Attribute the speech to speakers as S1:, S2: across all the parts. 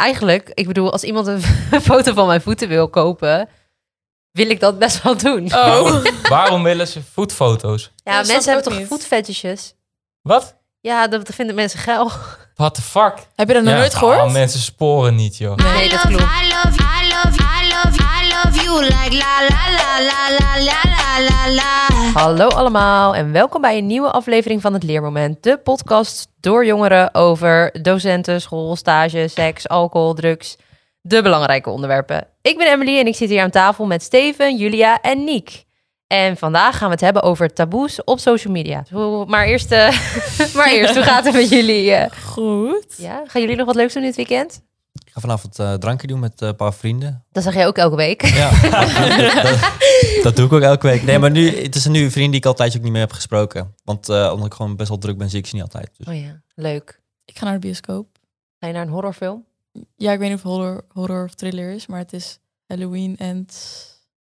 S1: eigenlijk, ik bedoel, als iemand een foto van mijn voeten wil kopen, wil ik dat best wel doen.
S2: Oh.
S3: Waarom willen ze voetfoto's?
S1: Ja,
S2: dat snap
S1: mensen
S2: ik
S1: hebben toch
S2: niet.
S1: voetfetishes?
S3: Wat?
S1: Ja, dat dat vinden mensen geil.
S3: What the fuck?
S2: Heb je dat nog
S3: Ja,
S2: nooit gehoord?
S3: ah, mensen sporen niet, joh.
S1: Nee, dat klopt.
S4: I love, I love, I love, I love you like la la la la la la la la la.
S1: Hallo allemaal en welkom bij een nieuwe aflevering van het Leermoment. De podcast door jongeren over docenten, school, stage, seks, alcohol, drugs. De belangrijke onderwerpen. Ik ben Emily en ik zit hier aan tafel met Steven, Julia en Niek. En vandaag gaan we het hebben over taboes op social media. Hoe- Maar eerst, eh, maar eerst hoe gaat het met jullie? eh?
S2: Goed.
S1: Ja, gaan jullie nog wat leuks doen dit weekend?
S5: Ik ga vanavond eh, drankje doen met eh, een paar vrienden.
S1: Dat zeg jij ook elke week.
S5: Ja, dat, dat doe ik ook elke week. Nee, maar nu, het is een nieuwe vriend die ik altijd ook niet meer heb gesproken. Want eh, omdat ik gewoon best wel druk ben, zie ik ze niet altijd. Dus.
S1: Oh ja, leuk.
S2: Ik ga naar de bioscoop.
S1: Ga je naar een horrorfilm?
S2: Ja, ik weet niet of horror, horror of thriller is, maar het is Halloween en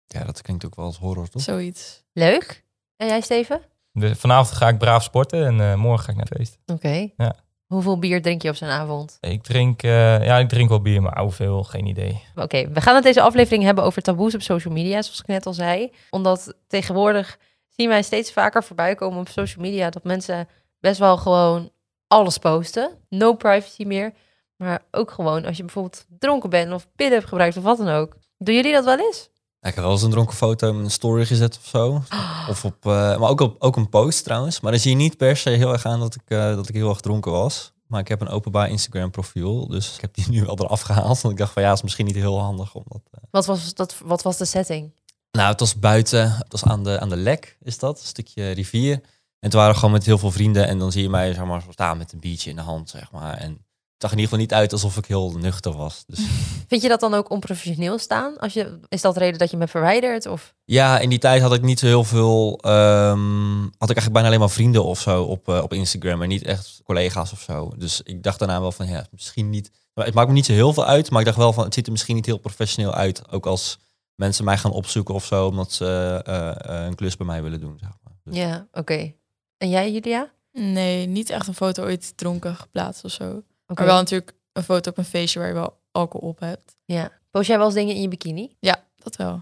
S5: Ja, dat klinkt ook wel als horror, toch?
S2: zoiets.
S1: Leuk. En jij, Steven?
S3: Dus vanavond ga ik braaf sporten en eh, morgen ga ik naar het feest.
S1: Oké.
S3: Ja.
S1: Hoeveel bier drink je op zo'n avond?
S3: Ik drink, eh, ja, ik drink wel bier, maar hoeveel, geen idee.
S1: Oké, we gaan het deze aflevering hebben over taboes op social media, zoals ik net al zei. Omdat tegenwoordig zien wij steeds vaker voorbij komen op social media dat mensen best wel gewoon alles posten. No privacy meer. Maar ook gewoon als je bijvoorbeeld dronken bent of pillen hebt gebruikt of wat dan ook. Doen jullie dat wel eens?
S5: Ja, ik heb wel eens een dronken foto in een story gezet of zo. Of op, eh, maar ook, op, ook een post trouwens. Maar dan zie je niet per se heel erg aan dat ik, eh, dat ik heel erg dronken was. Maar ik heb een openbaar Instagram profiel. Dus ik heb die nu al eraf gehaald. Want ik dacht van ja, is misschien niet heel handig om dat eh,
S1: Wat was, dat, wat was de setting?
S5: Nou, het was buiten, het was aan de, aan de lek, is dat, een stukje rivier. En toen waren we gewoon met heel veel vrienden en dan zie je mij zeg maar, zo staan met een biertje in de hand, zeg maar. En het zag in ieder geval niet uit alsof ik heel nuchter was. Dus
S1: Vind je dat dan ook onprofessioneel staan? Als je, is dat de reden dat je me verwijdert? Of
S5: ja, in die tijd had ik niet zo heel veel, ehm, had ik eigenlijk bijna alleen maar vrienden of zo op, eh, op Instagram en niet echt collega's of zo. Dus ik dacht daarna wel van, ja, misschien niet, maar het maakt me niet zo heel veel uit, maar ik dacht wel van, het ziet er misschien niet heel professioneel uit. Ook als mensen mij gaan opzoeken of zo, omdat ze eh, eh, een klus bij mij willen doen, zeg maar. Dus-
S1: ja, oké. En jij, Julia?
S2: Nee, niet echt een foto ooit dronken geplaatst of zo.
S1: Oké.
S2: Maar wel natuurlijk een foto op een feestje waar je wel alcohol op hebt.
S1: Ja. Post jij wel eens dingen in je bikini?
S2: Ja, dat wel.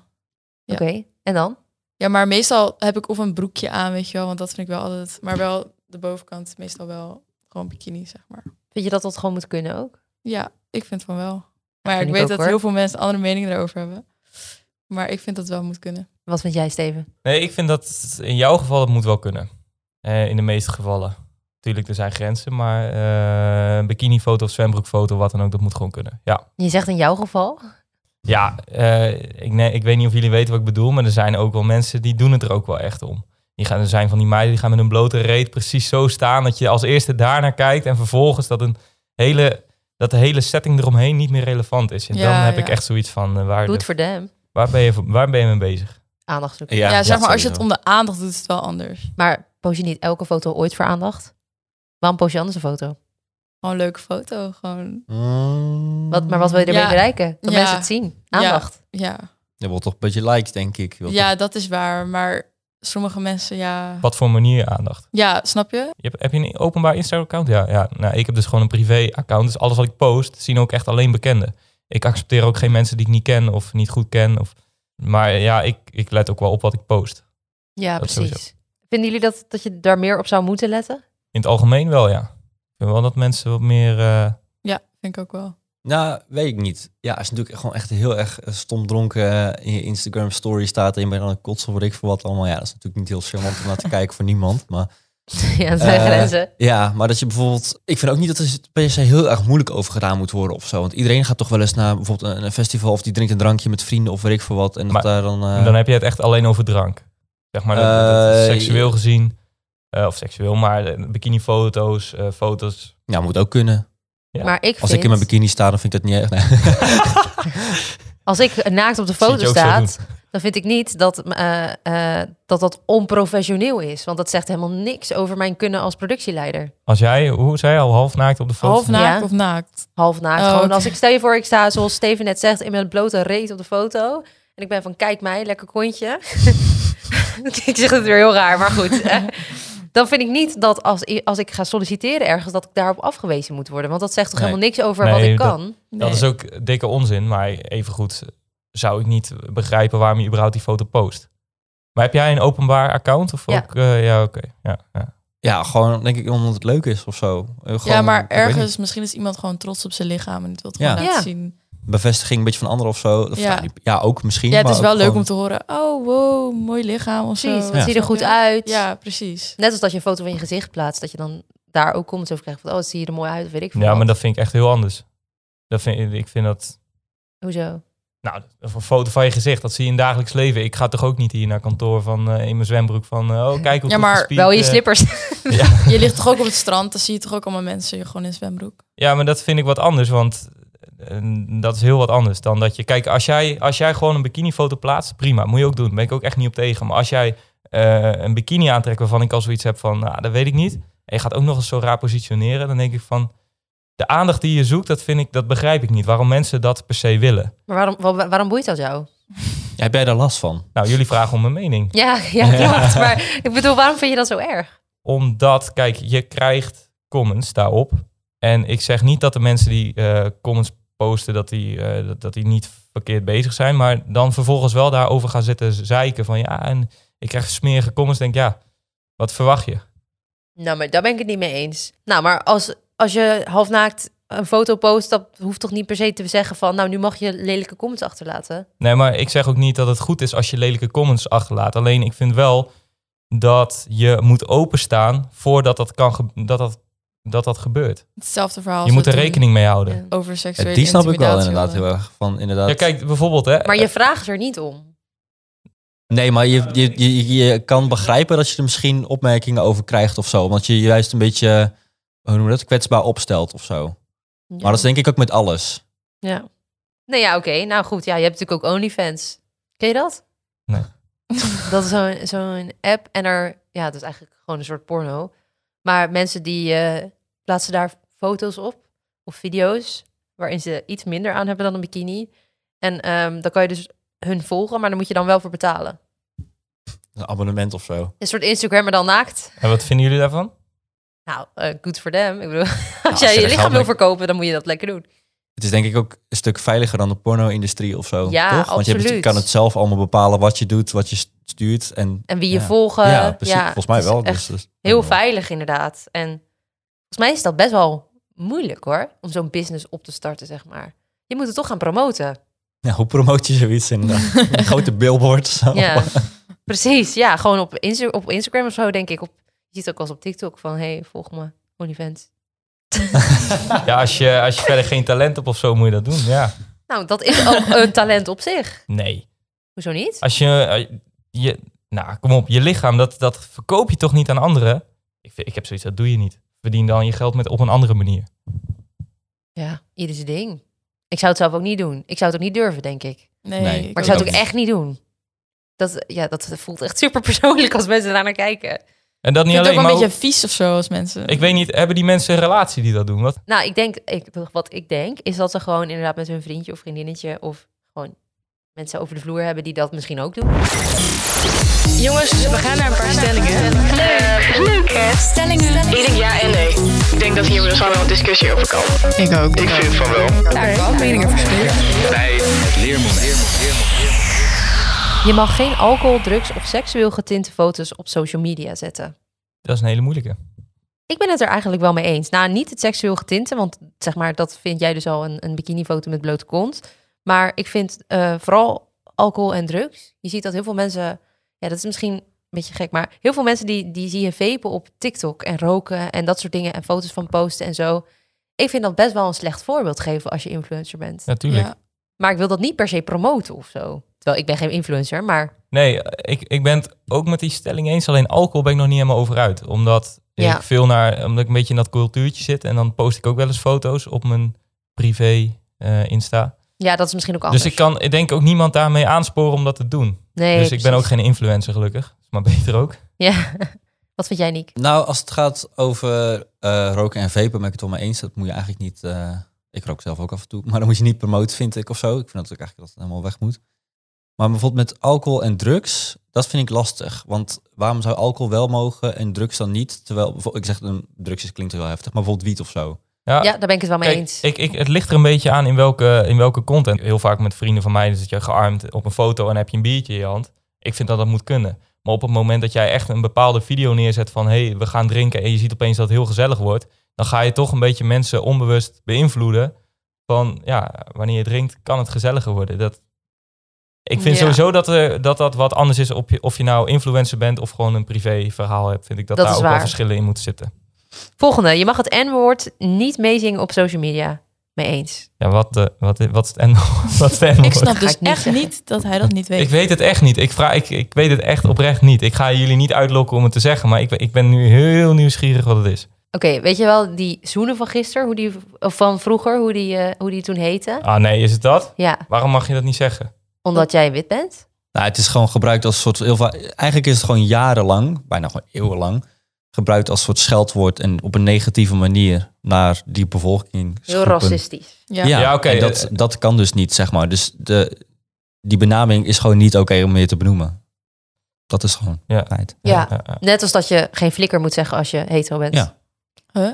S2: Ja.
S1: Oké. En dan?
S2: Ja, maar meestal heb ik of een broekje aan, weet je wel, want dat vind ik wel altijd. Maar wel de bovenkant meestal wel gewoon bikini, zeg maar.
S1: Vind je dat dat gewoon moet kunnen ook?
S2: Ja, ik vind van wel. Maar
S1: vind
S2: ik
S1: ik
S2: weet
S1: ook,
S2: dat
S1: hoor.
S2: heel veel mensen andere meningen daarover hebben. Maar ik vind dat wel moet kunnen.
S1: Wat vind jij, Steven?
S3: Nee, ik vind dat in jouw geval dat moet wel kunnen. Eh, in de meeste gevallen. Tuurlijk, er zijn grenzen, maar eh, een bikinifoto of zwembroekfoto, wat dan ook, dat moet gewoon kunnen. Ja.
S1: Je zegt in jouw geval.
S3: Ja, eh, ik, nee, ik weet niet of jullie weten wat ik bedoel, maar er zijn ook wel mensen die doen het er ook wel echt om. Die gaan, er zijn van die meiden die gaan met een blote reet precies zo staan dat je als eerste daarnaar kijkt en vervolgens dat, een hele, dat de hele setting eromheen niet meer relevant is. En
S2: Ja,
S3: dan heb
S2: ja.
S3: ik echt zoiets van, eh, waar,
S1: Goed
S3: de-
S1: voor hem.
S3: waar, ben je, voor- waar ben je mee bezig?
S1: Aandacht zoeken.
S2: Ja, zeg maar, als je
S5: sowieso.
S2: het om de aandacht doet, is het wel anders.
S1: Maar post je niet elke foto ooit voor aandacht? Waarom post je anders een foto?
S2: Gewoon een leuke foto, gewoon,
S5: Mm.
S1: Wat, maar wat wil je ermee
S2: Ja.
S1: bereiken? Dat
S2: Ja.
S1: mensen het zien.
S2: Ja.
S1: Aandacht.
S2: ja.
S5: Je wilt toch een beetje likes, denk ik. Je wilt
S2: Ja, dat is waar. Maar sommige mensen, ja...
S3: Wat voor manier aandacht?
S2: Ja, snap je?
S3: Je hebt, heb je een openbaar Insta-account? Ja, ja. Nou, ik heb dus gewoon een privé-account. Dus alles wat ik post, zien ook echt alleen bekenden. Ik accepteer ook geen mensen die ik niet ken of niet goed ken. Of, maar ja, ik, ik let ook wel op wat ik post.
S1: Ja,
S3: Dat
S1: precies.
S3: sowieso.
S1: Vinden jullie dat, dat je daar meer op zou moeten letten?
S3: In het algemeen wel, ja. Ik vind wel dat mensen wat meer... eh,
S2: Ja, vind ik ook wel.
S5: toch- Nou, weet ik niet. Ja, als je natuurlijk gewoon echt heel erg eh, stom dronken eh, in je Instagram story staat en je bent aan het kotsen, word ik voor wat allemaal. Ja, dat is natuurlijk niet heel charmant om naar te kijken voor niemand. Maar
S1: ja, dat zijn
S5: Eh,
S1: grenzen.
S5: Ja, maar dat je bijvoorbeeld. Ik vind ook niet dat er per se heel erg moeilijk over gedaan moet worden of zo. Want iedereen gaat toch wel eens naar bijvoorbeeld een, een festival of die drinkt een drankje met vrienden of weet ik voor wat. En dat
S3: Maar-
S5: daar dan. eh,
S3: Dan heb je het echt alleen over drank. Zeg maar, dat, dat- dat
S5: Eh,
S3: seksueel gezien... eh, of seksueel, maar eh, bikinifoto's, eh, foto's...
S5: Ja, moet ook kunnen.
S3: ja.
S1: Maar ik
S5: Als
S1: vind,
S5: ik in mijn bikini sta, dan vind ik dat niet echt. Nee.
S1: als ik naakt op de
S3: Zie je
S1: foto
S3: ook zo
S1: staat, dan vind ik niet dat, eh, eh, dat dat onprofessioneel is. Want dat zegt helemaal niks over mijn kunnen als productieleider.
S3: Als jij, hoe zei je, al half naakt op de foto?
S2: Half
S3: staat?
S2: naakt
S1: Ja.
S2: of naakt.
S1: half naakt.
S2: Oh,
S1: gewoon
S2: oké.
S1: als ik stel je voor, ik sta zoals Steven net zegt, in mijn blote reet op de foto. En ik ben van, kijk mij, lekker kontje. ik zeg het weer heel raar, maar goed. hè. Dan vind ik niet dat als, i- als ik ga solliciteren ergens, dat ik daarop afgewezen moet worden. Want dat zegt toch
S5: Nee.
S1: helemaal niks over
S3: Nee,
S1: wat ik
S3: dat-
S1: kan.
S3: Dat is
S2: Nee.
S3: ook dikke onzin, maar evengoed zou ik niet begrijpen waarom je überhaupt die foto post. Maar heb jij een openbaar account? Of
S1: Ja.
S3: ook, eh, ja oké. Ja, ja.
S5: Ja, gewoon denk ik omdat het leuk is of zo. Eh, Gewoon,
S2: ja, maar
S5: ik weet niet,
S2: ergens, misschien is iemand gewoon trots op zijn lichaam en het wil het
S5: Ja.
S2: gewoon laten
S1: Ja.
S2: zien.
S5: Bevestiging een beetje van anderen of zo. Of,
S2: Ja.
S5: ja. die- ja, ook misschien.
S2: Ja, het
S5: maar
S2: is
S5: ook
S2: wel leuk
S5: gewoon-
S2: om te horen. Oh, wow, mooi lichaam of zo.
S1: Precies, wat
S5: Ja.
S1: ziet er goed uit.
S2: Ja, precies.
S1: Net als dat je een foto van je gezicht plaatst, dat je dan daar ook comments over krijgt. Van, oh, het ziet er mooi uit, of weet ik veel.
S3: ja,
S1: wat.
S3: maar dat vind ik echt heel anders. Dat vind, ik vind dat...
S1: Hoezo?
S3: Nou, of een foto van je gezicht, dat zie je in dagelijks leven. Ik ga toch ook niet hier naar kantoor van, eh, in mijn zwembroek van... eh, oh, kijk hoe
S2: Ja,
S3: goed
S2: maar
S3: gespierd,
S1: Wel je
S3: eh,
S1: slippers.
S3: ja.
S2: Je ligt toch ook op het strand, dan zie je toch ook allemaal mensen gewoon in zwembroek.
S3: ja, maar dat vind ik wat anders, want eh, dat is heel wat anders dan dat je... Kijk, als jij, als jij gewoon een bikinifoto plaatst, prima, moet je ook doen. Daar ben ik ook echt niet op tegen. Maar als jij eh, een bikini aantrekt waarvan ik al zoiets heb van, nou, dat weet ik niet. En je gaat ook nog eens zo raar positioneren, dan denk ik van... De aandacht die je zoekt, dat, vind ik, dat begrijp ik niet. Waarom mensen dat per se willen.
S1: Maar waarom, wa- waarom boeit dat jou?
S5: Ja, heb jij daar last van?
S3: Nou, jullie vragen om mijn mening.
S1: Ja, ja klopt. Maar ik bedoel, waarom vind je dat zo erg?
S3: Omdat, kijk, je krijgt comments daarop. En ik zeg niet dat de mensen die eh, comments posten, dat die, eh, dat, dat die niet verkeerd bezig zijn. Maar dan vervolgens wel daarover gaan zitten zeiken van ja, en ik krijg smerige comments. Denk ja, wat verwacht je?
S1: Nou, maar daar ben ik het niet mee eens. Nou, maar als, als je halfnaakt een foto post, dat hoeft toch niet per se te zeggen van... nou, nu mag je lelijke comments achterlaten.
S3: Nee, maar ik zeg ook niet dat het goed is als je lelijke comments achterlaat. Alleen ik vind wel dat je moet openstaan voordat dat, kan ge- dat, dat, dat, dat gebeurt.
S2: Hetzelfde verhaal.
S3: Je
S2: als
S3: moet er
S2: we toen
S3: rekening mee houden.
S1: Ja.
S2: Over
S5: Ja,
S2: seksuele
S5: die snap ik wel
S2: intimidatie
S5: inderdaad
S2: hadden.
S5: heel erg. Van, inderdaad.
S3: Ja, kijk, bijvoorbeeld hè.
S1: Maar je vraagt er niet om.
S5: Nee, maar je, je, je, je kan begrijpen dat je er misschien opmerkingen over krijgt of zo. Want je je juist een beetje, hoe noem je dat, kwetsbaar opstelt of zo. Maar dat is denk ik ook met alles.
S1: Ja. Nee, ja, oké. Nou goed, ja, je hebt natuurlijk ook OnlyFans. Ken je dat?
S3: Nee.
S1: Dat is zo'n zo'n app en er... Ja, dat is eigenlijk gewoon een soort porno. Maar mensen die eh, plaatsen daar foto's op of video's... waarin ze iets minder aan hebben dan een bikini. En ehm, dan kan je dus hun volgen, maar daar moet je dan wel voor betalen.
S5: Een abonnement of zo.
S1: Een soort Instagrammer dan naakt.
S3: En wat vinden jullie daarvan?
S1: Nou, eh good for them. Ik bedoel, als
S5: als
S1: jij
S5: je
S1: je
S5: er
S1: lichaam
S5: geld
S1: wil
S5: mee-
S1: verkopen, dan moet je dat lekker doen.
S5: Het is denk ik ook een stuk veiliger dan de porno-industrie of zo.
S1: Ja,
S5: toch? Want je, hebt het-
S1: absoluut.
S5: kan het zelf allemaal bepalen wat je doet, wat je st- stuurt. En,
S1: En wie je
S5: Ja.
S1: volgen.
S5: ja, precies. volgens mij
S1: Eh, het is
S5: wel.
S1: echt
S5: Dus, dus-
S1: Heel veilig inderdaad. En volgens mij is dat best wel moeilijk hoor, om zo'n business op te starten, zeg maar. Je moet het toch gaan promoten.
S5: Ja, hoe promoot je zoiets in eh, een grote billboard? Zo.
S1: Ja, precies. Ja, gewoon op, Insta- op Instagram of zo, denk ik. Op, je ziet ook als op TikTok van, hey, volg me, OnlyFans.
S3: Ja, als je, als je verder geen talent hebt of zo, moet je dat doen. Ja.
S1: Nou, dat is ook een talent op zich.
S3: Nee.
S1: Hoezo niet?
S5: Ah.
S3: Als je, eh, je nou kom op, je lichaam, dat, dat verkoop je toch niet aan anderen? Ik, vind- ik heb zoiets, dat doe je niet. Verdien dan je geld met op een andere manier.
S1: Ja, ieder zijn ding. Ik zou het zelf ook niet doen. Ik zou het ook niet durven, denk ik.
S2: Nee,
S5: Nee.
S1: Maar ik
S5: ook
S1: zou het ook
S5: niet.
S1: echt niet doen. Dat, ja, dat voelt echt super persoonlijk als mensen daar naar kijken.
S3: En dat
S2: Ik
S3: niet
S2: vind het
S3: alleen,
S2: ook wel
S3: maar
S2: een
S3: ook-
S2: beetje vies of zo als mensen.
S3: ik weet niet, hebben die mensen een relatie die dat doen? Wat?
S1: Nou, ik denk, ik, wat ik denk, is dat ze gewoon inderdaad met hun vriendje of vriendinnetje of gewoon mensen over de vloer hebben die dat misschien ook doen.
S6: Jongens, we gaan naar een paar stellingen. Leuk. Stellingen. Ieder ja en nee. Ik denk dat hier dus wel een discussie over kan.
S2: Ik ook.
S7: Ik vind van wel. Bij leermoment.
S1: Je mag geen alcohol, drugs of seksueel getinte foto's op social media zetten.
S3: Dat is een hele moeilijke.
S1: Ik ben het er eigenlijk wel mee eens. Nou, niet het seksueel getinte, want zeg maar, dat vind jij dus al een, een bikinifoto met blote kont. Maar ik vind eh, vooral alcohol en drugs. Je ziet dat heel veel mensen, ja, dat is misschien een beetje gek, maar heel veel mensen die, die zie je vapen op TikTok en roken en dat soort dingen en foto's van posten en zo. Ik vind dat best wel een slecht voorbeeld geven als je influencer bent.
S3: Natuurlijk.
S2: Ja.
S1: Maar ik wil dat niet per se promoten of zo. Terwijl ik ben geen influencer, maar
S3: Nee, eh, ik, ik ben het ook met die stelling eens. Alleen alcohol ben ik nog niet helemaal over uit. Omdat
S1: Ja.
S3: ik veel naar, omdat ik een beetje in dat cultuurtje zit. En dan post ik ook wel eens foto's op mijn privé eh, Insta.
S1: ja, dat is misschien ook anders.
S3: Dus ik kan, ik denk ook niemand daarmee aansporen om dat te doen.
S1: nee,
S3: dus ik ben ook
S1: precies.
S3: geen influencer gelukkig. Is Maar beter ook.
S1: Ja. Wat vind jij, Niek?
S5: Nou, als het gaat over eh, roken en vapen, ben ik het wel mee eens. Dat moet je eigenlijk niet... eh, ik rook zelf ook af en toe. Maar dan moet je niet promoten, vind ik, of zo. Ik vind dat ik eigenlijk dat het helemaal weg moet. Maar bijvoorbeeld met alcohol en drugs, dat vind ik lastig. Want waarom zou alcohol wel mogen en drugs dan niet? Terwijl, bijvoorbeeld- ik zeg, een drugs is, klinkt heel heftig, maar bijvoorbeeld wiet of zo.
S1: Ja, daar ben ik het wel mee
S3: Kijk,
S1: eens.
S3: Ik, ik, het ligt er een beetje aan in welke, in welke content. Heel vaak met vrienden van mij dan zit je gearmd op een foto en heb je een biertje in je hand. Ik vind dat dat moet kunnen. Maar op het moment dat jij echt een bepaalde video neerzet van hé, hey, we gaan drinken en je ziet opeens dat het heel gezellig wordt, dan ga je toch een beetje mensen onbewust beïnvloeden van ja, wanneer je drinkt kan het gezelliger worden. Dat, ik vind
S2: Ja.
S3: sowieso dat, er, dat dat wat anders is op je, of je nou influencer bent of gewoon een privé verhaal hebt. Vind ik dat,
S1: Dat
S3: daar
S1: is
S3: ook wel
S1: waar.
S3: verschillen in moeten zitten.
S1: Volgende, je mag het N-woord niet meezingen op social media. Mee eens.
S3: Ja, wat, de, wat, wat is het en wat is het en-
S2: Ik snap
S1: Ga
S2: dus
S1: ik niet
S2: echt
S1: zeggen.
S2: niet dat hij dat niet weet.
S3: Ik weet het echt niet. Ik, vraag, ik, ik weet het echt oprecht niet. Ik ga jullie niet uitlokken om het te zeggen, maar ik, ik ben nu heel nieuwsgierig wat het is.
S1: Oké, weet je wel die zoenen van gisteren, hoe die, of van vroeger, hoe die, eh, hoe die toen heette?
S3: Ah nee, is het dat?
S1: Ja,
S3: Waarom mag je dat niet zeggen?
S1: omdat jij wit bent?
S5: Nou, het is gewoon gebruikt als soort. Heel va- eigenlijk is het gewoon jarenlang, bijna gewoon eeuwenlang, gebruikt als soort scheldwoord en op een negatieve manier naar die bevolking.
S1: Heel racistisch.
S2: Ja.
S5: Ja,
S3: Ja,
S5: ja
S3: oké. eh,
S5: oké. dat, dat kan dus niet, zeg maar. Dus de, die benaming is gewoon niet oké om meer te benoemen. Dat is gewoon
S3: Ja.
S5: feit.
S1: Ja.
S3: Eh, eh,
S1: Net als dat je geen flikker moet zeggen als je hetero bent.
S5: Ja.
S2: Huh?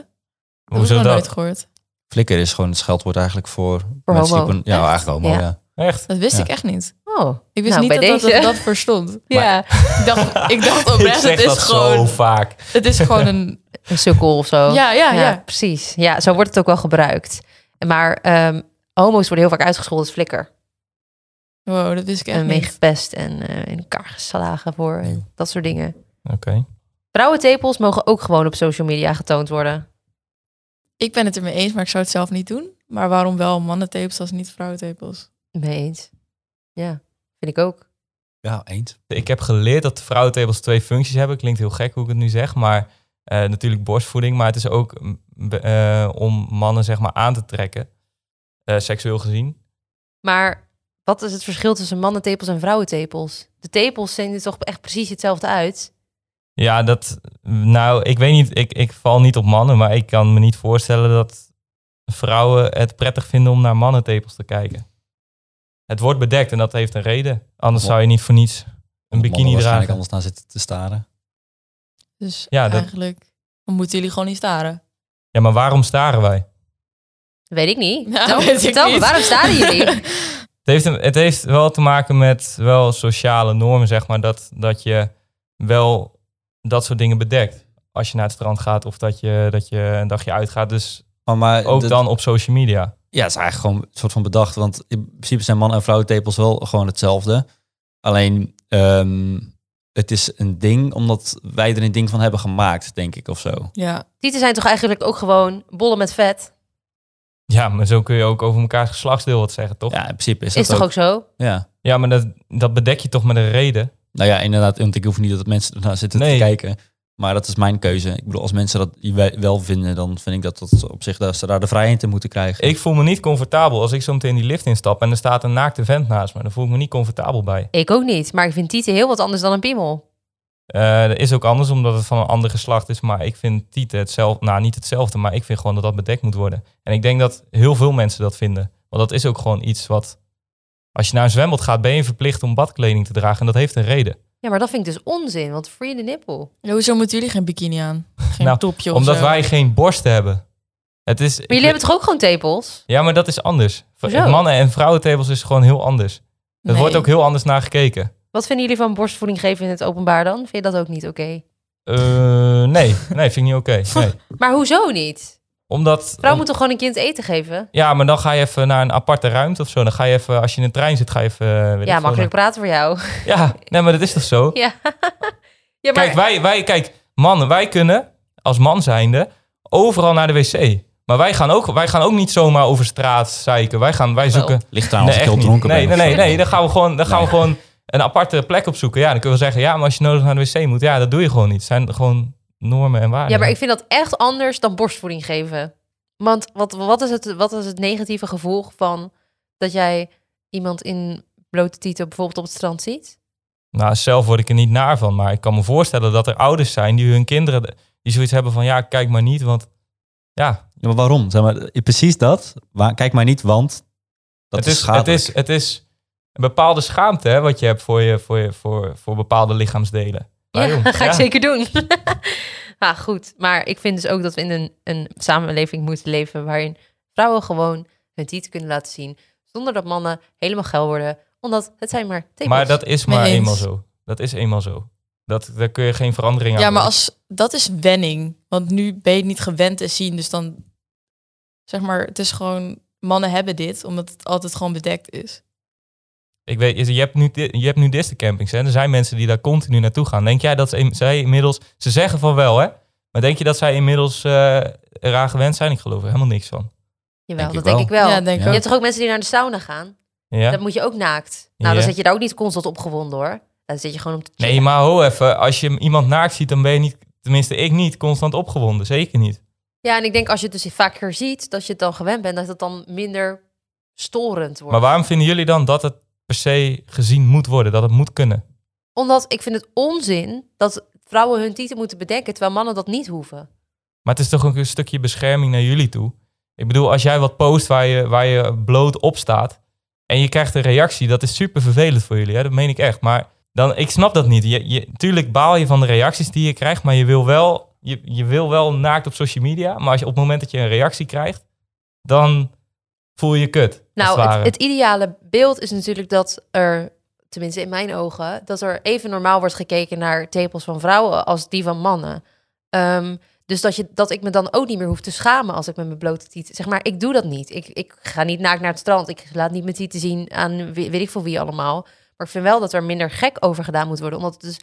S3: Hoezo
S2: dat? heb ik nog nooit
S3: dat?
S2: gehoord.
S5: Flikker is gewoon het scheldwoord eigenlijk voor,
S1: Voor
S5: mensen die
S1: homo.
S5: op een- ja,
S2: Echt?
S5: eigenlijk homo,
S1: Ja.
S5: ja.
S3: Echt?
S2: Dat wist
S5: Ja.
S2: ik echt niet.
S1: Oh,
S2: Ik wist
S1: Nou,
S2: niet
S1: bij
S2: dat, dat
S1: deze.
S2: dat dat verstond.
S1: ja.
S2: Ik dacht, ik dacht
S3: Ik
S2: oprecht,
S3: zeg
S2: het is,
S3: dat zo
S2: gewoon,
S3: vaak.
S2: het is gewoon een...
S1: Een sukkel of zo.
S2: Ja, ja, ja.
S1: precies. Oh. Ja, zo wordt het ook wel gebruikt. Maar ehm, homo's worden heel vaak uitgescholden als flikker.
S2: Wow, dat wist ik echt
S1: en mee
S2: niet.
S1: gepest en eh, in elkaar geslagen voor en dat soort dingen.
S3: Oké.
S1: Vrouwentepels mogen ook gewoon op social media getoond worden.
S2: Ik ben het ermee eens, maar ik zou het zelf niet doen. Maar waarom wel mannentapels als niet vrouwentapels?
S1: Mee eens. Ja, vind ik ook.
S5: Ja, eens.
S3: Ik heb geleerd dat vrouwentepels twee functies hebben. Klinkt heel gek hoe ik het nu zeg, maar eh, natuurlijk borstvoeding. Maar het is ook mm, be- eh, om mannen zeg maar aan te trekken, eh, seksueel gezien.
S1: Maar wat is het verschil tussen mannentepels en vrouwentepels? De tepels zien er toch echt precies hetzelfde uit?
S3: Ja, dat. Nou, ik weet niet. Ik, ik val niet op mannen, maar ik kan me niet voorstellen dat vrouwen het prettig vinden om naar mannentepels te kijken. Het wordt bedekt en dat heeft een reden. Anders
S5: Wat-
S3: zou je niet voor niets een
S5: Mannen
S3: bikini
S5: waarschijnlijk
S3: dragen.
S5: anders naar zitten te staren.
S2: Dus
S3: Ja, dat-
S2: eigenlijk dan moeten jullie gewoon niet staren.
S3: Ja, maar waarom staren wij?
S1: Weet ik niet.
S2: Ja,
S1: Vertel-
S2: weet ik
S1: vertel me,
S2: niet.
S1: waarom staan jullie?
S3: Het heeft, een- het heeft wel te maken met wel sociale normen, zeg maar. Dat, dat je wel dat soort dingen bedekt. Als je naar het strand gaat of dat je, dat je een dagje uitgaat. Dus
S5: Maar, maar
S3: ook
S5: dat-
S3: dan op social media.
S5: Ja, het is eigenlijk gewoon een soort van bedacht. Want in principe zijn man- en vrouwentepels wel gewoon hetzelfde. Alleen, ehm, het is een ding omdat wij er een ding van hebben gemaakt, denk ik, of zo.
S2: Ja,
S1: Tieten zijn toch eigenlijk ook gewoon bollen met vet?
S3: Ja, maar zo kun je ook over elkaar geslachtsdeel wat zeggen, toch?
S5: Ja, in principe is dat
S1: Is toch ook zo?
S5: Ja.
S3: Ja, maar dat, dat bedek je toch met een reden.
S5: Nou ja, inderdaad, want ik hoef niet dat mensen ernaar zitten
S3: Nee.
S5: te kijken. Maar dat is mijn keuze. Ik bedoel, als mensen dat we- wel vinden, dan vind ik dat, dat op zich dat ze daar de vrijheid in moeten krijgen.
S3: Ik voel me niet comfortabel als ik zo meteen die lift instap en er staat een naakte vent naast me. Dan voel ik me niet comfortabel bij.
S1: Ik ook niet, maar ik vind tieten heel wat anders dan een piemel.
S3: Eh, dat is ook anders omdat het van een ander geslacht is. Maar ik vind tieten hetzelfde. Nou, niet hetzelfde, maar ik vind gewoon dat dat bedekt moet worden. En ik denk dat heel veel mensen dat vinden. Want dat is ook gewoon iets wat. Als je naar een zwembad gaat, ben je verplicht om badkleding te dragen. En dat heeft een reden.
S1: Ja, maar dat vind ik dus onzin, want free the nipple.
S2: Ja, hoezo moeten jullie geen bikini aan? Geen
S3: Nou,
S2: topje of
S3: Omdat
S2: zo?
S3: wij geen borsten hebben. Het is,
S1: Maar jullie hebben toch ook gewoon tepels?
S3: Ja, maar dat is anders.
S1: Hoezo?
S3: Mannen- en vrouwentepels is gewoon heel anders. Er
S2: Nee.
S3: wordt ook heel anders naar gekeken.
S1: Wat vinden jullie van borstvoeding geven in het openbaar dan? Vind je dat ook niet oké?
S3: Eh, nee, nee, vind ik niet oké. Nee.
S1: Maar hoezo niet?
S3: Omdat.
S1: Vrouw
S3: om-
S1: moet toch gewoon een kind eten geven?
S3: Ja, maar dan ga je even naar een aparte ruimte of zo. Dan ga je even, als je in een trein zit, ga je even. eh, weet ik
S1: Ja,
S3: veel,
S1: makkelijk praten voor jou.
S3: naar- Ja, nee, maar dat is toch zo?
S1: Ja, ja maar
S3: Kijk, wij, wij, kijk, mannen, wij kunnen als man zijnde overal naar de wc. Maar wij gaan ook, wij gaan ook niet zomaar over straat zeiken. Wij, gaan, wij zoeken.
S5: Ligt daar Nou, als ik
S3: echt
S5: heel
S3: niet.
S5: dronken
S3: nee,
S5: ben.
S3: Nee,
S5: of
S3: nee,
S5: zo.
S3: nee. Dan gaan we gewoon, dan gaan we gewoon een aparte plek opzoeken. Ja, dan kunnen we zeggen, ja, maar als je nodig naar de wc moet, ja, dat doe je gewoon niet. Het zijn gewoon normen en waarden.
S1: ja, maar ik vind dat echt anders dan borstvoeding geven. Want wat, wat, is, het, wat is het negatieve gevolg van dat jij iemand in blote tieten bijvoorbeeld op het strand ziet?
S3: Nou, zelf word ik er niet naar van. Maar ik kan me voorstellen dat er ouders zijn die hun kinderen... die zoiets hebben van, ja, kijk maar niet, want... Ja,
S5: Ja, maar waarom? Zeg maar, eh, precies dat. Waar- Kijk maar niet, want dat
S3: het is, het
S5: schadelijk.
S3: is, het is een bepaalde schaamte hè, wat je hebt voor, je, voor, je, voor, voor bepaalde lichaamsdelen. Waarom?
S1: Ja, ga ik
S3: Ah, Ja.
S1: zeker doen. ja, goed. Maar ik vind dus ook dat we in een, een samenleving moeten leven waarin vrouwen gewoon hun titel kunnen laten zien. Zonder dat mannen helemaal geil worden. Omdat het zijn maar tepels.
S3: Maar dat is
S2: Mee
S3: maar
S2: eens.
S3: eenmaal zo. Dat is eenmaal zo. Dat, daar kun je geen verandering aan
S2: Ja, maar
S3: doen.
S2: als, dat is wenning. Want nu ben je het niet gewend te zien. Dus dan, zeg maar, het is gewoon, mannen hebben dit, omdat het altijd gewoon bedekt is.
S3: Ik weet, je hebt nu, je hebt nu distencampings. Hè? Er zijn mensen die daar continu naartoe gaan. Denk jij dat ze- zij inmiddels... Ze zeggen van wel, hè? Maar denk je dat zij inmiddels eh, eraan gewend zijn? Ik geloof er helemaal niks van.
S1: Jawel,
S5: denk
S1: dat
S5: ik
S1: denk ik wel.
S2: Ja, denk
S5: Ja.
S2: ik
S1: Je
S2: ook.
S1: hebt toch ook mensen die naar de sauna gaan?
S3: Ja?
S1: Dat moet je ook naakt. Nou,
S3: Ja.
S1: dan zit je daar ook niet constant opgewonden hoor. Dan zit je gewoon om te
S3: Nee, maar ho even. Als je iemand naakt ziet, dan ben je niet... Tenminste, ik niet constant opgewonden. Zeker niet.
S1: Ja, en ik denk als je het dus vaker ziet, dat je het dan gewend bent, dat het dan minder storend wordt.
S3: Maar waarom vinden jullie dan dat het per se gezien moet worden? Dat het moet kunnen?
S1: Omdat ik vind het onzin dat vrouwen hun titel moeten bedekken, terwijl mannen dat niet hoeven.
S3: Maar het is toch ook een stukje bescherming naar jullie toe. Ik bedoel, als jij wat post waar je, waar je bloot op staat en je krijgt een reactie, dat is super vervelend voor jullie. Hè? Dat meen ik echt. Maar dan, ik snap dat niet. Je, je, tuurlijk baal je van de reacties die je krijgt, maar je wil wel, je, je wil wel naakt op social media. Maar als je, op het moment dat je een reactie krijgt, dan voel je je kut. als
S1: Nou,
S3: het,
S1: het,
S3: ware.
S1: het ideale beeld is natuurlijk dat er, tenminste in mijn ogen, dat er even normaal wordt gekeken naar tepels van vrouwen als die van mannen. Ehm, dus dat, je, dat ik me dan ook niet meer hoef te schamen als ik met mijn blote tieten... Zeg maar, ik doe dat niet. Ik, ik ga niet naakt naar het strand. Ik laat niet mijn tieten zien aan wie- weet ik voor wie allemaal. Maar ik vind wel dat er minder gek over gedaan moet worden. Omdat het dus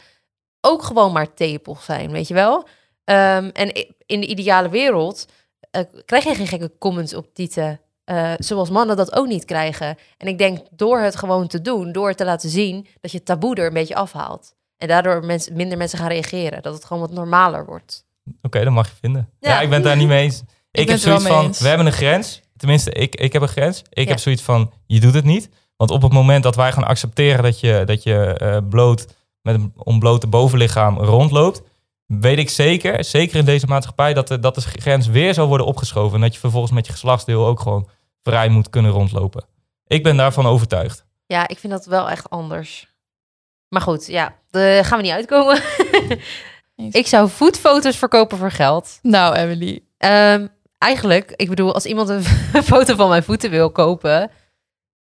S1: ook gewoon maar tepels zijn, weet je wel? Ehm, en i- in de ideale wereld eh, krijg je geen gekke comments op tieten. eh, zoals mannen dat ook niet krijgen. En ik denk door het gewoon te doen, door het te laten zien... dat je het taboe er een beetje afhaalt. En daardoor mensen minder mensen gaan reageren. Dat het gewoon wat normaler wordt.
S3: Oké, dat mag je vinden. Ja.
S1: Ja.
S3: ik ben het daar niet mee eens. Ik,
S2: ben
S3: heb
S2: het er wel
S3: zoiets
S2: mee
S3: van,
S2: eens.
S3: we hebben een grens. Tenminste, ik, ik heb een grens. Ik
S1: Ja.
S3: heb zoiets van, je doet het niet. Want op het moment dat wij gaan accepteren dat je, dat je eh, bloot met een ontblote bovenlichaam rondloopt, weet ik zeker, zeker in deze maatschappij, dat de, dat de grens weer zal worden opgeschoven. En dat je vervolgens met je geslachtsdeel ook gewoon vrij moet kunnen rondlopen. Ik ben daarvan overtuigd.
S1: Ja, ik vind dat wel echt anders. Maar goed, ja, daar gaan we niet uitkomen. ik zou voetfoto's verkopen voor geld.
S2: Nou, Emily.
S1: Ehm, eigenlijk, ik bedoel, als iemand een foto van mijn voeten wil kopen,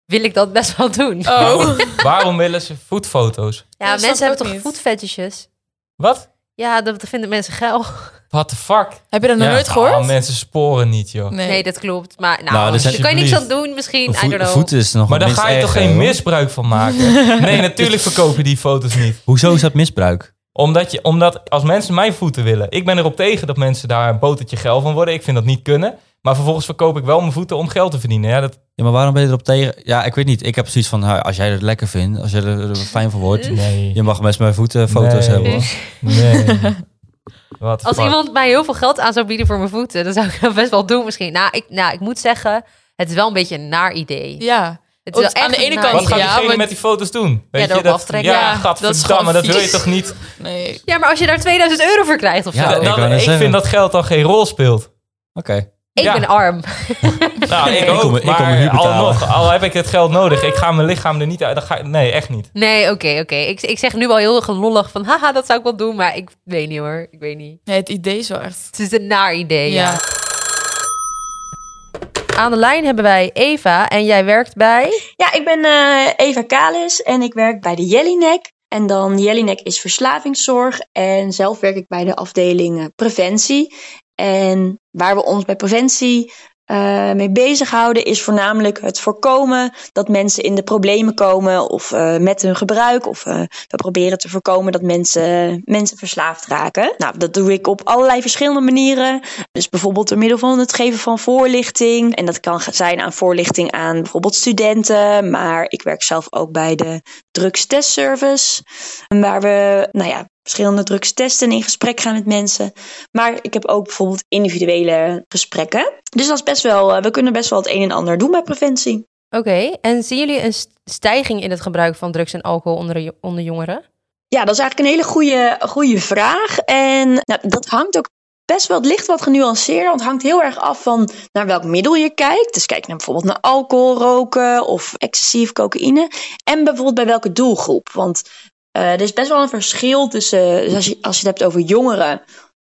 S1: wil ik dat best wel doen.
S2: Oh.
S3: Waarom willen ze voetfoto's?
S1: Ja,
S2: dat snap ik
S1: mensen hebben
S2: ook
S1: toch
S2: niet.
S1: voetvetjes?
S3: Wat?
S1: Ja, dat vinden mensen geil.
S3: What the fuck?
S2: Heb je dat nog
S3: Ja.
S2: nooit gehoord?
S3: Oh, mensen sporen niet, joh.
S1: Nee, dat klopt. Maar nou,
S5: Nou, dus
S1: daar kan je niks aan
S5: alsjeblieft.
S1: doen misschien. I don't
S5: Voet,
S1: know.
S5: voet is nog
S3: Maar
S5: het
S3: daar
S5: minst
S3: ga je toch
S5: erge,
S3: geen
S5: hoor.
S3: misbruik van maken? Nee, natuurlijk verkoop je die foto's niet.
S5: Hoezo is dat misbruik?
S3: Omdat, je, omdat als mensen mijn voeten willen... Ik ben erop tegen dat mensen daar een botertje geil van worden. Ik vind dat niet kunnen. Maar vervolgens verkoop ik wel mijn voeten om geld te verdienen. Ja, dat,
S5: Ja, maar waarom ben je erop tegen? Ja, ik weet niet. Ik heb zoiets van, nou, als jij het lekker vindt, als jij er er fijn van
S1: Eh.
S5: wordt,
S3: nee.
S5: je mag best mijn voeten foto's
S3: Nee.
S5: hebben. hoor.
S3: Nee. Wat
S1: Als
S3: fuck.
S1: iemand mij heel veel geld aan zou bieden voor mijn voeten, dan zou ik dat best wel doen misschien. Nou, ik, nou, ik moet zeggen, het is wel een beetje een naar idee.
S2: Ja.
S1: Het is wel
S2: Aan
S1: echt
S2: de
S1: een
S2: ene
S1: naar
S2: kant
S3: Wat gaat
S1: idee.
S2: Ja,
S3: diegene
S2: maar-
S3: met die foto's doen? Weet je,
S1: erop
S3: dat,
S1: aftrekken.
S3: Ja,
S1: Ja,
S2: dat is gewoon
S3: gadverdamme, dat wil je
S2: vies.
S3: toch niet?
S2: Nee.
S1: Ja, maar als je daar 2000 euro voor krijgt of
S5: Ja,
S1: zo.
S5: ik
S3: Dan-
S5: wou net
S3: ik
S5: zeggen.
S3: vind dat geld dan geen rol speelt.
S5: Oké.
S1: Ik
S3: ja.
S1: ben arm.
S3: Nou, ik,
S5: Ik
S3: ook,
S5: kom- ik kom
S3: maar
S5: het niet
S3: al,
S5: betalen.
S3: nog, al heb ik het geld nodig, ik ga mijn lichaam er niet uit. dan ga ik- nee, echt niet.
S1: Nee, oké, oké. Ik, ik zeg nu al heel gelollig van, haha, dat zou ik wel doen. Maar ik weet niet hoor, ik weet niet.
S2: nee, het idee is wel echt...
S1: Het is een naar idee, ja.
S2: Ja.
S1: Aan de lijn hebben wij Eva en jij werkt bij...
S8: Ja, ik ben eh, Eva Kalis en ik werk bij de Jellinek. En dan Jellinek is verslavingszorg en zelf werk ik bij de afdeling eh, preventie. En waar we ons bij preventie eh, mee bezighouden is voornamelijk het voorkomen dat mensen in de problemen komen of eh, met hun gebruik. Of eh, we proberen te voorkomen dat mensen, mensen verslaafd raken. Nou, dat doe ik op allerlei verschillende manieren. Dus bijvoorbeeld door middel van het geven van voorlichting. En dat kan zijn aan voorlichting aan bijvoorbeeld studenten. Maar ik werk zelf ook bij de drugstestservice. Waar we, nou ja, verschillende drugs testen en in gesprek gaan met mensen. Maar ik heb ook bijvoorbeeld individuele gesprekken. Dus dat is best wel, eh, we kunnen best wel het een en ander doen bij preventie.
S1: Oké, en zien jullie een st- stijging in het gebruik van drugs en alcohol onder, de jo- onder jongeren?
S8: Ja, dat is eigenlijk een hele goede, goede vraag. En nou, dat hangt ook best wel het licht wat genuanceerder. Want het hangt heel erg af van naar welk middel je kijkt. Dus kijk naar bijvoorbeeld naar alcohol, roken of excessief cocaïne. En bijvoorbeeld bij welke doelgroep. Want eh, er is best wel een verschil tussen, dus als je, als je het hebt over jongeren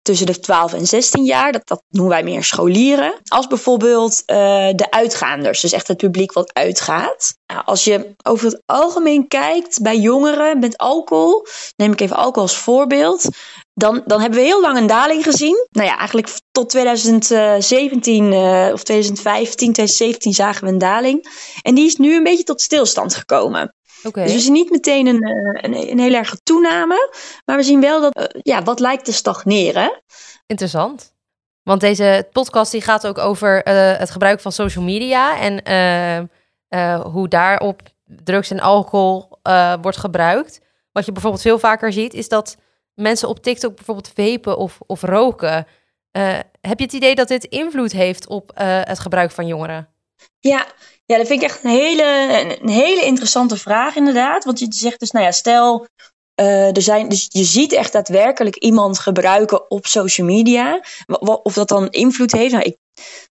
S8: tussen de 12 en 16 jaar, dat, dat noemen wij meer scholieren, als bijvoorbeeld eh, de uitgaanders, dus echt het publiek wat uitgaat. Nou, als je over het algemeen kijkt bij jongeren met alcohol, neem ik even alcohol als voorbeeld, dan, dan hebben we heel lang een daling gezien. Nou ja, eigenlijk tot 2017 eh, of 2015, 2017 zagen we een daling. En die is nu een beetje tot stilstand gekomen.
S1: Oké.
S8: Dus we zien niet meteen een, eh, een, een heel erge toename. Maar we zien wel dat eh, ja, wat lijkt te stagneren.
S1: Interessant. Want deze podcast die gaat ook over eh, het gebruik van social media en eh, eh, hoe daarop drugs en alcohol eh, wordt gebruikt. Wat je bijvoorbeeld veel vaker ziet, is dat mensen op TikTok bijvoorbeeld vapen of, of roken. Eh, heb je het idee dat dit invloed heeft op eh, het gebruik van jongeren?
S8: Ja, ja dat vind ik echt een hele, een, een hele interessante vraag inderdaad. Want je zegt dus, nou ja, stel... eh, er zijn, dus je ziet echt daadwerkelijk iemand gebruiken op social media. Wa- wa- Of dat dan invloed heeft. Nou, ik,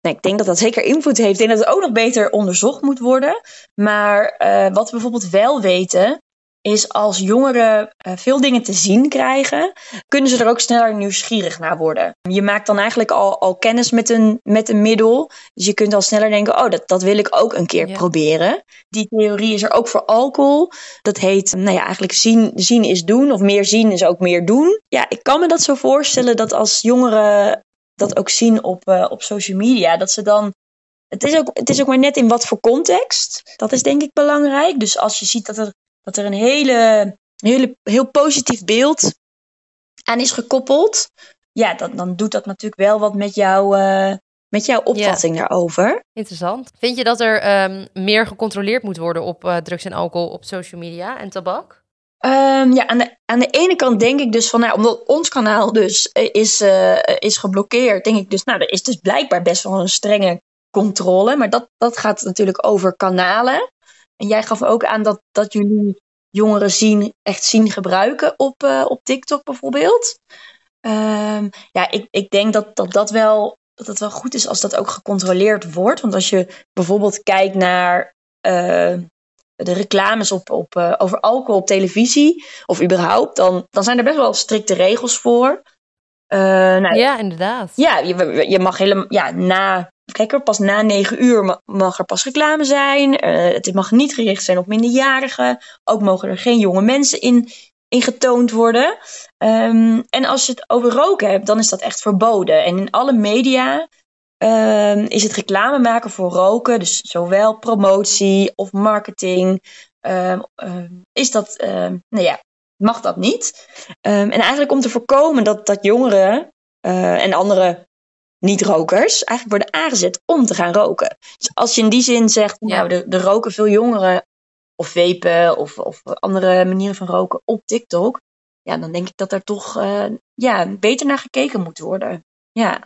S8: nou, ik denk dat dat zeker invloed heeft. Ik denk dat het ook nog beter onderzocht moet worden. Maar eh, wat we bijvoorbeeld wel weten, is als jongeren eh, veel dingen te zien krijgen, kunnen ze er ook sneller nieuwsgierig naar worden. Je maakt dan eigenlijk al, al kennis met een, met een middel. Dus je kunt al sneller denken, oh, dat, dat wil ik ook een keer
S1: Ja.
S8: proberen. Die theorie is er ook voor alcohol. Dat heet, nou ja, eigenlijk zien, zien is doen, of meer zien is ook meer doen. Ja, ik kan me dat zo voorstellen dat als jongeren dat ook zien op, eh, op social media, dat ze dan het is, ook, het is ook maar net in wat voor context. Dat is denk ik belangrijk. Dus als je ziet dat er, dat er een hele, hele, heel positief beeld aan is gekoppeld. Ja, dan, dan doet dat natuurlijk wel wat met, jou, eh, met jouw opvatting daarover.
S1: Interessant. Vind je dat er ehm, meer gecontroleerd moet worden op eh, drugs en alcohol op social media en tabak?
S8: Ehm, ja, aan de, aan de ene kant denk ik dus van, nou, omdat ons kanaal dus eh, is, eh, is geblokkeerd, denk ik dus, nou, er is dus blijkbaar best wel een strenge controle. Maar dat, dat gaat natuurlijk over kanalen. En jij gaf ook aan dat, dat jullie jongeren zien, echt zien gebruiken op, eh, op TikTok bijvoorbeeld. Ehm, ja, ik, ik denk dat dat, dat wel. Dat het wel goed is als dat ook gecontroleerd wordt. Want als je bijvoorbeeld kijkt naar eh, de reclames op, op, eh, over alcohol op televisie, of überhaupt, dan, dan zijn er best wel strikte regels voor. Eh, nou,
S1: Ja, inderdaad.
S8: ja, je, je mag helemaal. Ja, na. Kijk er, pas na negen uur ma- mag er pas reclame zijn. Eh, het mag niet gericht zijn op minderjarigen. Ook mogen er geen jonge mensen in, in getoond worden. Ehm, en als je het over roken hebt, dan is dat echt verboden. En in alle media ehm, is het reclame maken voor roken, dus zowel promotie of marketing, ehm, ehm, is dat, ehm, nou ja, mag dat niet. Ehm, en eigenlijk om te voorkomen dat, dat jongeren eh, en andere niet-rokers eigenlijk worden aangezet om te gaan roken. Dus als je in die zin zegt,
S1: Ja.
S8: nou, er, er roken veel jongeren of vapen of, of andere manieren van roken op TikTok, ja, dan denk ik dat daar toch eh, ja, beter naar gekeken moet worden. Ja,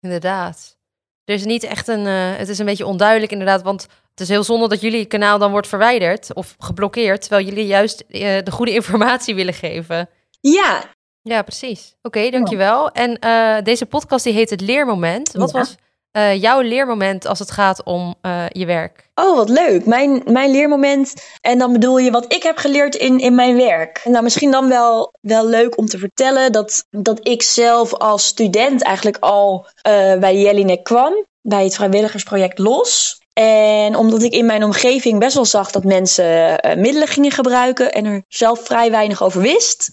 S1: Inderdaad. Er is niet echt een. eh, het is een beetje onduidelijk, inderdaad. Want het is heel zonde dat jullie kanaal dan wordt verwijderd of geblokkeerd. Terwijl jullie juist eh, de goede informatie willen geven.
S8: ja
S1: Ja, precies. Oké, dankjewel. En eh, deze podcast die heet Het Leermoment. Wat
S8: Ja.
S1: was eh, jouw leermoment als het gaat om eh, je werk?
S8: Oh, wat leuk. Mijn, mijn leermoment. En dan bedoel je wat ik heb geleerd in, in mijn werk. Nou, misschien dan wel, wel leuk om te vertellen dat, dat ik zelf als student eigenlijk al eh, bij Jelinek kwam. Bij het vrijwilligersproject LOS. En omdat ik in mijn omgeving best wel zag dat mensen eh, middelen gingen gebruiken en er zelf vrij weinig over wist.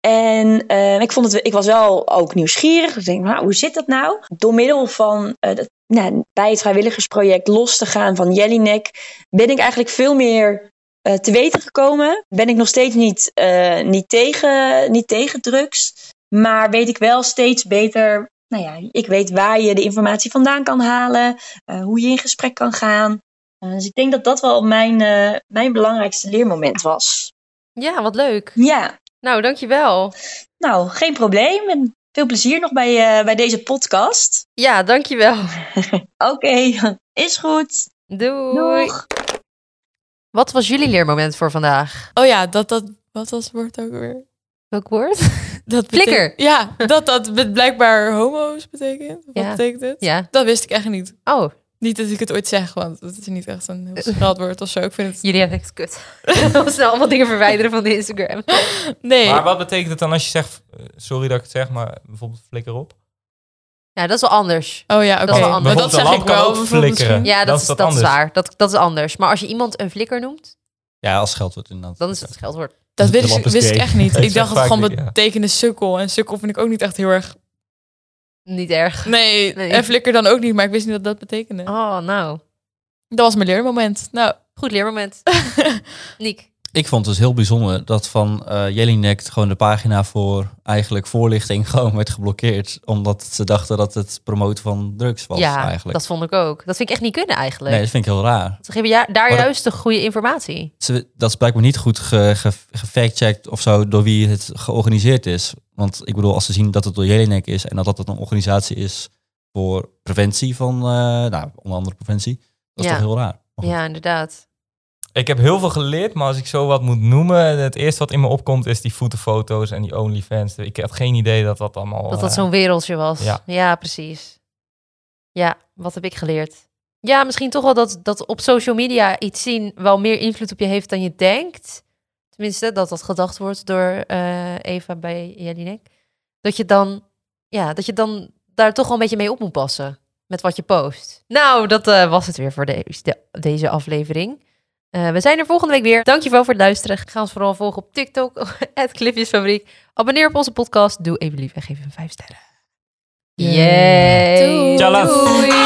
S8: En eh, ik, vond het, ik was wel ook nieuwsgierig. Dus ik denk, nou, hoe zit dat nou? Door middel van eh, dat, nou, bij het vrijwilligersproject los te gaan van Jellinek, ben ik eigenlijk veel meer eh, te weten gekomen. Ben ik nog steeds niet, eh, niet, tegen, niet tegen drugs. Maar weet ik wel steeds beter. Nou ja, ik weet waar je de informatie vandaan kan halen, eh, hoe je in gesprek kan gaan. Eh, dus ik denk dat dat wel mijn, eh, mijn belangrijkste leermoment was.
S1: Ja, wat leuk.
S8: Ja.
S1: Nou, dankjewel.
S8: Nou, geen probleem. En veel plezier nog bij, eh, bij deze podcast.
S1: Ja, dankjewel.
S8: Oké, is goed.
S1: Doei.
S8: Doeg.
S1: Wat was jullie leermoment voor vandaag?
S2: Oh ja, dat, dat, wat was het woord ook weer?
S1: Welk woord?
S2: Dat
S1: Flikker.
S2: betek- Ja, dat dat be- blijkbaar homo's betekent. Wat
S1: Ja.
S2: betekent het?
S1: Ja.
S2: Dat wist ik echt niet.
S1: Oh,
S2: Niet dat ik het ooit zeg, want dat is niet echt
S1: Eh.
S2: een heel scheldwoord of zo. Ik vind het...
S1: jullie hebben echt kut. We snel allemaal dingen verwijderen van de Instagram.
S2: Nee.
S3: Maar wat betekent het dan als je zegt, eh, sorry dat ik het zeg, maar bijvoorbeeld flikker op?
S1: Ja, dat is wel anders.
S2: Oh ja, oké.
S1: is wel
S2: Maar
S1: anders.
S2: dat
S3: Bijvoorbeeld
S2: zeg
S3: een
S2: ik
S3: lamp kan
S2: wel.
S3: ook
S2: bijvoorbeeld
S3: flikkeren.
S1: Ja,
S2: misschien.
S1: dat,
S3: Dat
S1: is,
S3: is
S1: dat
S3: wat
S1: is
S3: anders.
S1: waar. Dat, dat is anders. Maar als je iemand een flikker noemt,
S5: Ja, als scheldwoord inderdaad.
S1: dan is het scheldwoord.
S2: Dat
S5: De
S2: wist,
S5: lamp
S2: ik-
S5: is
S2: wist ik
S5: gay.
S2: echt niet.
S3: Ik
S2: Ik
S3: zeg
S2: dacht dat het
S3: vaak
S2: gewoon
S3: weer, ja.
S2: betekende sukkel. En sukkel vind ik ook niet echt heel erg...
S1: Niet erg.
S2: Nee,
S1: Nee.
S2: en flikker dan ook niet. Maar ik wist niet dat dat betekende.
S1: Oh, nou.
S2: Dat was mijn leermoment. Nou,
S1: Goed leermoment. Niek.
S5: Ik vond het dus heel bijzonder dat van eh Jelinek gewoon de pagina voor eigenlijk voorlichting gewoon werd geblokkeerd. Omdat ze dachten dat het promoten van drugs was
S1: ja,
S5: eigenlijk.
S1: dat vond ik ook. Dat vind ik echt niet kunnen eigenlijk.
S5: nee, dat vind ik heel raar.
S1: Ze geven ja, daar
S5: Maar dat-
S1: juist de goede informatie.
S5: Ze, dat is blijkbaar niet goed ge, ge, gefactcheckt of zo door wie het georganiseerd is. Want ik bedoel, als ze zien dat het door Jelinek is en dat dat een organisatie is voor preventie van, eh, nou, onder andere preventie. Dat is
S1: Ja.
S5: toch heel raar. Maar goed.
S1: Ja, inderdaad.
S3: Ik heb heel veel geleerd, maar als ik zo wat moet noemen, het eerste wat in me opkomt is die voetenfoto's en die OnlyFans. Ik had geen idee dat dat allemaal...
S1: Dat dat
S3: eh,
S1: zo'n wereldje was. Oh, Ja.
S3: ja.
S1: precies. Ja, wat heb ik geleerd? Ja, misschien toch wel dat, dat op social media iets zien wel meer invloed op je heeft dan je denkt. Tenminste, dat dat gedacht wordt door eh, Eva bij Jelinek. Dat je dan, ja, dat je dan daar toch wel een beetje mee op moet passen. Met wat je post. Nou, dat eh, was het weer voor deze, de- deze aflevering. Eh, we zijn er volgende week weer. Dankjewel voor het luisteren. Ga ons vooral volgen op TikTok, het Clipjesfabriek. Abonneer op onze podcast. Doe even lief en geef hem vijf sterren. Yay.
S2: Doei.
S3: Tjallas.
S1: Doei.